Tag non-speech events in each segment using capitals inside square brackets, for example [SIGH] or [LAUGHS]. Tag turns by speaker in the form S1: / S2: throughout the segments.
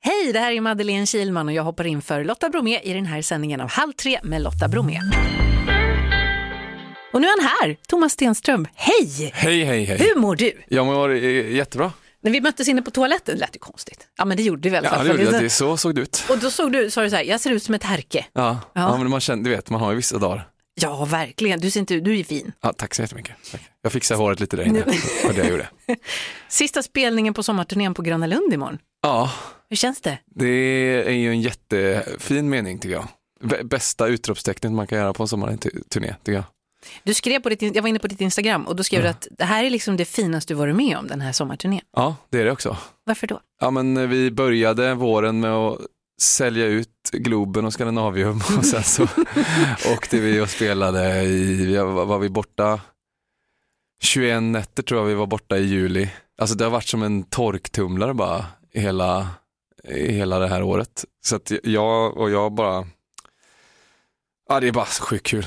S1: Hej, det här är Madeleine Kilman och jag hoppar in för Lotta Bromé i den här sändningen av Halv tre med Lotta Bromé. Och nu är han här, Thomas Stenström. Hej!
S2: Hej, hej, hej.
S1: Hur mår du?
S2: Jag mår eh, jättebra.
S1: När vi möttes inne på toaletten, det lät ju konstigt. Ja, men det gjorde vi i alla
S2: Ja,
S1: fall.
S2: det
S1: För
S2: gjorde
S1: det-
S2: jag. Det, så såg det ut.
S1: Och då såg du, sa du så här, jag ser ut som ett härke.
S2: Ja,
S1: Ja.
S2: ja. men man känner, du vet, man har ju vissa dagar.
S1: Ja, verkligen. Du ser inte ut, du är fin.
S2: Ja, tack så jättemycket. Tack. Jag fixade håret lite där inne, för det jag [LAUGHS] gjorde.
S1: Sista spelningen på sommarturnén på Gröna Lund imorgon.
S2: Ja,
S1: Hur känns det?
S2: det är ju en jättefin mening tycker jag. B- bästa utropstecknet man kan göra på en sommarturné, tycker jag.
S1: Du skrev på ditt, jag var inne på ditt Instagram och då skrev du
S2: Mm.
S1: att det här är liksom det finaste du varit med om den här sommarturnén.
S2: Ja, det är det också.
S1: Varför då?
S2: Ja, men eh, vi började våren med att sälja ut Globen och Scandinavium [LAUGHS] och sen så åkte vi och spelade i, ja, var vi borta 21 nätter tror jag vi var borta i juli. Alltså det har varit som en torktumlare bara hela, hela det här året. Så att jag och jag bara, ja det är bara så sjukt kul.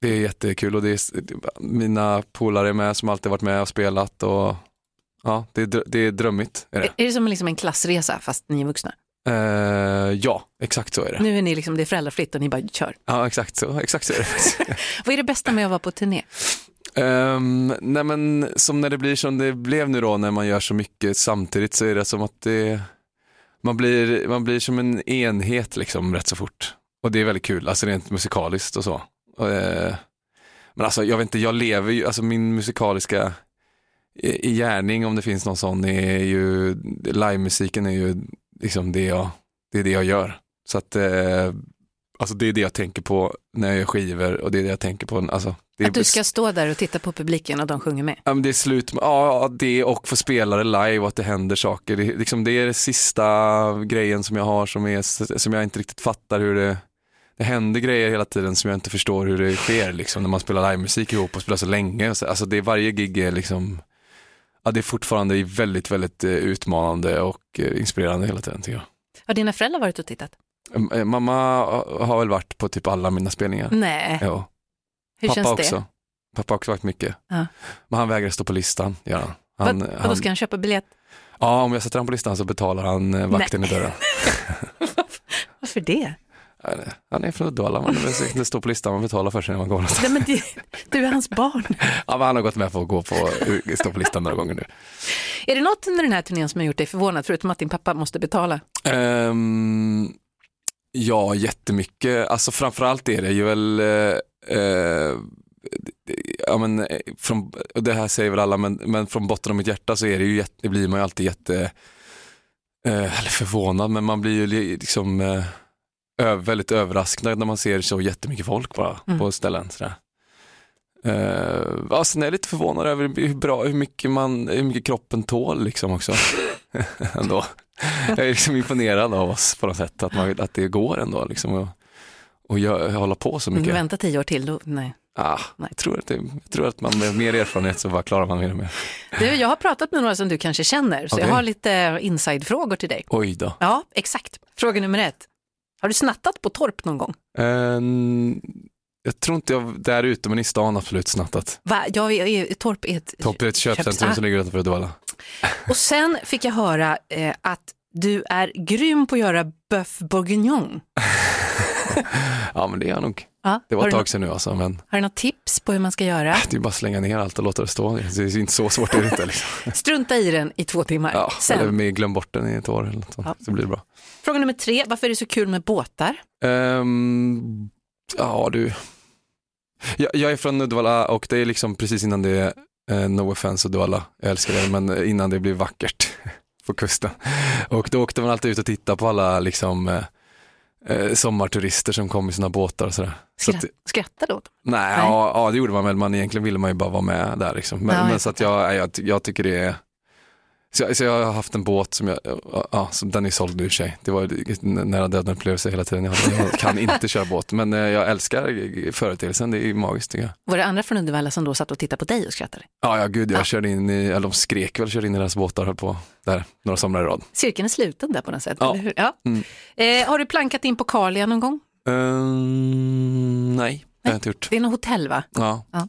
S2: Det är jättekul och det är, mina polare är med som alltid varit med och spelat och ja, det är, dr- det är drömmigt. Är det.
S1: Är, är det som liksom en klassresa fast ni är vuxna?
S2: Eh, ja, exakt så är det.
S1: Nu är ni liksom, det är föräldrafritt och ni bara kör.
S2: Ja, exakt så, exakt så är det faktiskt.
S1: Vad är det bästa med att vara på turné?
S2: Ehm, nej men som när det blir som det blev nu då när man gör så mycket samtidigt så är det som att det, man, blir, man blir som en enhet liksom rätt så fort. Och det är väldigt kul, alltså rent musikaliskt och så. Och, eh, men alltså jag vet inte, jag lever ju, alltså min musikaliska eh, i, i gärning om det finns någon sån är ju, livemusiken är ju liksom det jag, det är det jag gör. Så att eh, Alltså det är det jag tänker på när jag gör skivor och det är det jag tänker på. Alltså, det är
S1: Att du ska stå där och titta på publiken och de sjunger med.
S2: Ja, men det är slut med, ja ja, det och få spela det live och att det händer saker. Det, liksom, det är det sista grejen som jag har som, är, som jag inte riktigt fattar hur det, det händer grejer hela tiden som jag inte förstår hur det sker liksom, när man spelar livemusik ihop och spelar så länge. Och så- Alltså det är varje gig är liksom, ja det är fortfarande väldigt, väldigt eh, utmanande och eh, inspirerande hela tiden tycker jag.
S1: Har dina föräldrar varit och tittat?
S2: Em- eh, Mamma har väl varit på typ alla mina spelningar.
S1: Nej,
S2: Ja.
S1: Mm. hur
S2: Pappa
S1: känns det?
S2: också. Pappa har också varit mycket.
S1: Ja.
S2: Men han vägrar stå på listan, gör han. han,
S1: Vad, vadå,
S2: han
S1: ska han köpa biljett? [LAUGHS]
S2: ja, om jag sätter honom på listan så betalar han eh, vakten i dörren.
S1: Varför det?
S2: Han är- Han är från Uddevalla, man det står på listan, man betalar för sig när man går någonstans.
S1: Nej, men det du är hans
S2: [LAUGHS]
S1: barn.
S2: Ja, men han har gått med på att gå på, stå på listan några gånger nu.
S1: Är det något under den här turnén som har gjort dig förvånad, förutom att din pappa måste betala?
S2: Ehm, ja, jättemycket. Alltså framförallt är det ju väl, eh, eh, ja men eh, från, och det här säger väl alla, men, men från botten av mitt hjärta så är det ju, jätte, det blir man ju alltid jätte, eh, eller förvånad, men man blir ju li- liksom eh, ö- väldigt överraskad när man ser så jättemycket folk bara
S1: Mm.
S2: på ställen. Sådär. Eh, ja, sen är jag lite förvånad över hur bra, hur mycket, man, hur mycket kroppen tål liksom också. [LAUGHS] ändå. Jag är liksom imponerad av oss på något sätt, att, man, att det går ändå liksom. Och, och gö- hålla på så mycket.
S1: Vänta tio år till, då, nej.
S2: Ah,
S1: Nej.
S2: jag, tror att det, jag tror att man med mer erfarenhet så bara klarar man mer och mer.
S1: Du, jag har pratat med några som du kanske känner, så jag
S2: Okej.
S1: har lite eh, insidefrågor till dig.
S2: Oj då.
S1: Ja, exakt. Fråga nummer ett. Har du snattat på torp någon gång?
S2: Eh, jag tror inte jag där ute, men i stan absolut snattat.
S1: Va? Jag är, är, torp är ett...
S2: Topp är ett köpcentrum
S1: Ah.
S2: som ligger utanför [LAUGHS] Uddevalla.
S1: Och sen fick jag höra eh, att du är grym på att göra bœuf bourguignon.
S2: Ja men det är jag nog.
S1: Ja,
S2: Det var
S1: har,
S2: ett
S1: du, nå-
S2: tag sedan nu alltså, men
S1: har du något tips på hur man ska göra?
S2: det är bara att slänga ner allt och låta det stå. Det är inte så svårt är det inte. Liksom.
S1: [LAUGHS] Strunta i den i två timmar.
S2: Ja, eller
S1: sen,
S2: med glöm bort den i ett år eller något sånt,
S1: Ja.
S2: så blir det bra.
S1: fråga nummer tre. Varför är det så kul med båtar?
S2: Ehm, ja, du. Jag, jag är från Uddevalla och det är liksom precis innan det, uh, no offense Uddevalla, jag älskar det, men innan det blir vackert [LAUGHS] på kusten. Och då åkte man alltid ut och tittade på alla liksom eh, eh, sommarturister som kom i sina båtar och sådär. Så
S1: Skratt,
S2: att,
S1: Skratta då.
S2: nej, Ja, ja, det gjorde man väl, man egentligen ville man ju bara vara med där liksom. Men,
S1: Ja, jag
S2: men så att jag, nej, jag, ty- jag tycker det är så jag, så jag har haft en båt som jag, ja, som den är såld nu i och för sig. Det var ju en nära döden upplevelse hela tiden. Jag, jag kan inte köra båt, men eh, jag älskar eh, företeelsen. Det är magiskt tycker jag.
S1: Var det andra från Uddevalla som då satt och tittade på dig och skrattade?
S2: Ja, ja gud, jag
S1: Ja.
S2: körde in i, eller de skrek väl, körde in i deras båtar här på, där, några somrar i rad.
S1: Cirkeln är sluten där på något sätt.
S2: Ja.
S1: Eller hur? Ja.
S2: Mm.
S1: Eh, har du plankat in på Carlia någon gång?
S2: Ehm, nej, det har jag inte gjort.
S1: Det är något hotell va?
S2: Ja.
S1: Ja.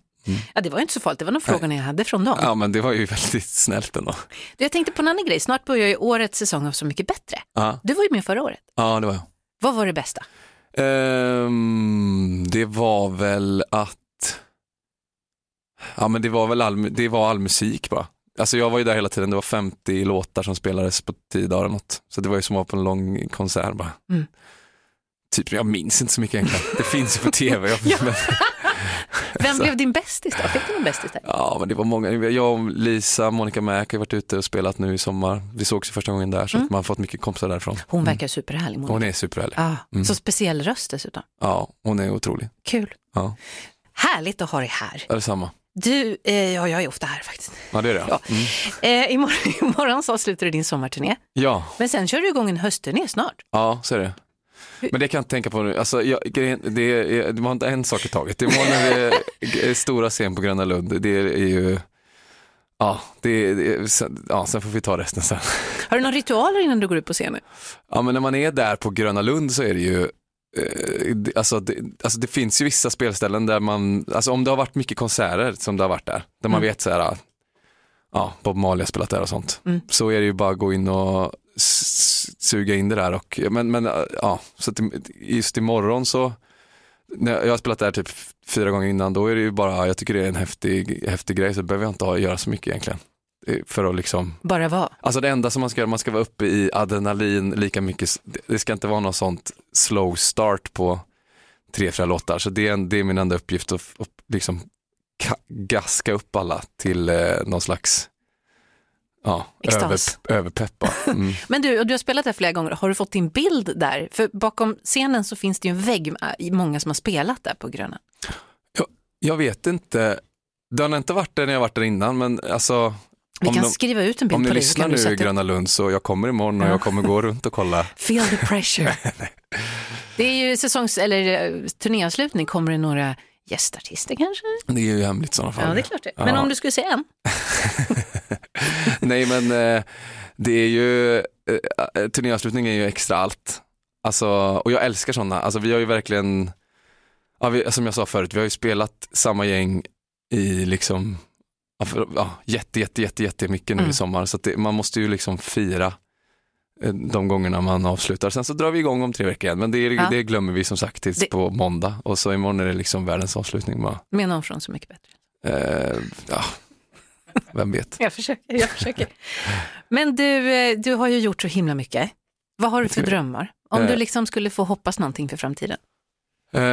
S1: Ja, det var ju inte så farligt, det var de frågorna jag hade från dem.
S2: Ja men det var ju [LAUGHS] väldigt snällt ändå.
S1: Du, jag tänkte på en annan grej, snart börjar ju årets säsong av Så mycket bättre.
S2: Ja,
S1: Du var ju med förra året,
S2: ja det var jag.
S1: vad var det bästa?
S2: Ehm, det var väl att, ja men det var väl all, det var all musik bara. Alltså jag var ju där hela tiden, det var 50 låtar som spelades på 10 dagar eller något. Så det var ju som att vara på en lång konsert bara.
S1: Mm.
S2: Typ, jag minns inte så mycket egentligen. Det finns ju
S1: [LAUGHS]
S2: på tv. Jag, men,
S1: Vem
S2: Så.
S1: blev din bästis då? Fick du någon bästis där?
S2: ja men det var många, jag och Lisa, Monica Mac har ju varit ute och spelat nu i sommar. Vi sågs ju första gången där så
S1: Mm.
S2: att man har fått mycket kompisar därifrån.
S1: Hon verkar superhärlig. Monica.
S2: Mm. Hon är superhärlig.
S1: Ja,
S2: Mm.
S1: Så speciell röst dessutom.
S2: Ja, hon är otrolig.
S1: Kul.
S2: Ja.
S1: Härligt att ha dig här.
S2: Ja, detsamma.
S1: Du, eh, ja, jag är ofta här faktiskt.
S2: Ja det är det.
S1: Ja.
S2: Mm.
S1: Eh, [LAUGHS] imorgon, imorgon så avslutar du din sommarturné,
S2: ja.
S1: men sen kör du igång en höstturné snart.
S2: Ja, så är det. Men det kan jag inte tänka på nu. Alltså, jag, grejen- det är, det var inte en sak i taget. Det var när vi är stora scen på Gröna Lund. Det är ju, ja, det är, det är, sen, ja, sen får vi ta resten sen.
S1: Har du några ritualer innan du går ut på scenen?
S2: Ja, men när man är där på Gröna Lund så är det ju eh, det- Alltså det, alltså det finns ju vissa spelställen där man, alltså om det har varit mycket konserter som det har varit där, där man
S1: Mm.
S2: vet så här, ah, ja, Bob Marley har spelat där och sånt.
S1: Mm.
S2: Så är det ju bara att gå in och s- suga in det där och, men, men eh, ja, så att det- just imorgon så, när jag jag har spelat där typ fyra gånger innan, då är det ju bara, jag tycker det är en häftig, häftig grej, så behöver jag inte ha, göra så mycket egentligen. Eh, För att liksom
S1: Bara vara.
S2: Alltså det enda som man ska göra, man ska vara uppe i adrenalin lika mycket, det- det ska inte vara någon sånt slow start på tre, fyra låtar. Så det är, en, det är min enda uppgift att, f- att liksom ka- gaska upp alla till eh, någon slags ja, över,
S1: Extas.
S2: överpeppa.
S1: [LAUGHS]
S2: Mm.
S1: Men du, och du har spelat där flera gånger, har du fått din bild där? För bakom scenen så finns det ju en vägg med i många som har spelat där på Gröna.
S2: Jag vet inte, det har nog inte varit det när jag varit där innan, men alltså
S1: Vi
S2: Om
S1: kan
S2: de-
S1: skriva ut en bild
S2: om ni
S1: på dig. så
S2: lyssnar
S1: kan du
S2: nu i
S1: sätta upp-
S2: Gröna Lund så jag kommer imorgon och
S1: Ja.
S2: jag kommer gå runt och kolla.
S1: [LAUGHS] Feel the pressure.
S2: [LAUGHS]
S1: det är ju säsongs eller eh, turnéavslutning, kommer det några gästartister kanske?
S2: Det är ju hemligt i sådana fall.
S1: Ja, det är klart det. Men
S2: Ja.
S1: om du skulle säga en?
S2: [LAUGHS] Nej men eh, det är ju, eh, turnéavslutning är ju extra allt. Alltså, och jag älskar sådana, alltså vi har ju verkligen, ja, vi, som jag sa förut, vi har ju spelat samma gäng i liksom, ja, för, ja, jätte, jätte, jätte, jättemycket nu
S1: Mm.
S2: i sommar. Så att det, man måste ju liksom fira eh, de gångerna man avslutar. Sen så drar vi igång om tre veckor igen, men det, är-
S1: Ja.
S2: det glömmer vi som sagt tills
S1: Det-
S2: på måndag. Och så imorgon är det liksom världens avslutning bara.
S1: Med någon från Så mycket bättre.
S2: Eh, ja, vem vet.
S1: Jag försöker, jag försöker. [LAUGHS] Men du, eh, du har ju gjort så himla mycket. Vad har du för drömmar? Om du
S2: Eh.
S1: liksom skulle få hoppas någonting för framtiden.
S2: Eh,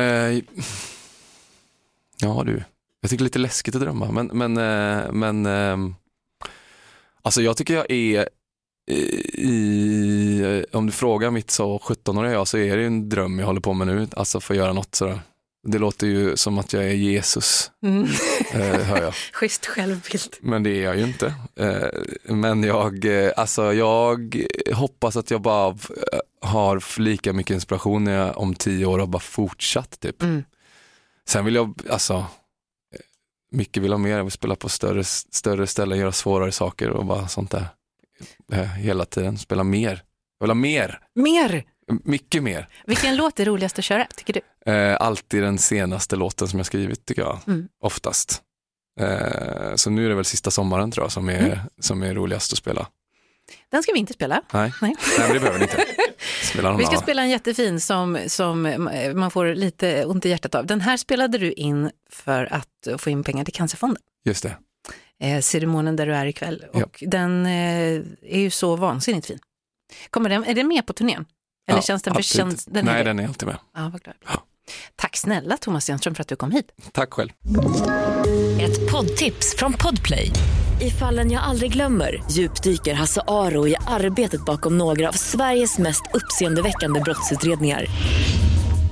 S2: ja du, jag tycker det är lite läskigt att drömma men, men, eh, men ehm, alltså jag tycker jag är i, i, om du frågar mitt så 17-åriga jag så är det ju en dröm jag håller på med nu, alltså få göra något sådär. Det låter ju som att jag är Jesus,
S1: Mm. [LAUGHS]
S2: eh, hör jag.
S1: Schysst självbild.
S2: Men det är jag ju inte. Eh, Men jag, eh, alltså jag hoppas att jag bara eh, har lika mycket inspiration när jag om tio år har bara fortsatt typ.
S1: Mm.
S2: Sen vill jag, alltså, eh, mycket vill ha mer, jag vill spela på större, större ställen, göra svårare saker och bara sånt där. Eh, Hela tiden, spela mer. Jag vill ha mer,
S1: Mer!
S2: mycket mer.
S1: Vilken låt är roligast att köra, tycker du?
S2: Eh, alltid den senaste låten som jag skrivit tycker jag,
S1: Mm.
S2: oftast. Eh, så nu är det väl sista sommaren tror jag som är,
S1: Mm.
S2: som är roligast att spela.
S1: Den ska vi inte spela.
S2: Nej,
S1: Nej.
S2: Nej men det behöver
S1: [LAUGHS]
S2: ni inte. Spela någon
S1: Vi ska
S2: annan.
S1: spela en jättefin som, som eh, man får lite ont i hjärtat av. Den här spelade du in för att eh, få in pengar till Cancerfonden.
S2: Just det.
S1: Eh, ceremonen där du är ikväll.
S2: Ja.
S1: Och den eh, är ju så vansinnigt fin. Kommer den, är den med på turnén? Eller
S2: Ja,
S1: känns den för
S2: absolut.
S1: känns, den
S2: Nej,
S1: är det?
S2: den är alltid med.
S1: Ja, vad glad. jag blir.
S2: Ja.
S1: Tack snälla Thomas Stenström för att du kom hit.
S2: Tack själv.
S3: Ett poddtips från Podplay. I fallen jag aldrig glömmer djupdyker Hasse Aro i arbetet bakom några av Sveriges mest uppseendeväckande brottsutredningar.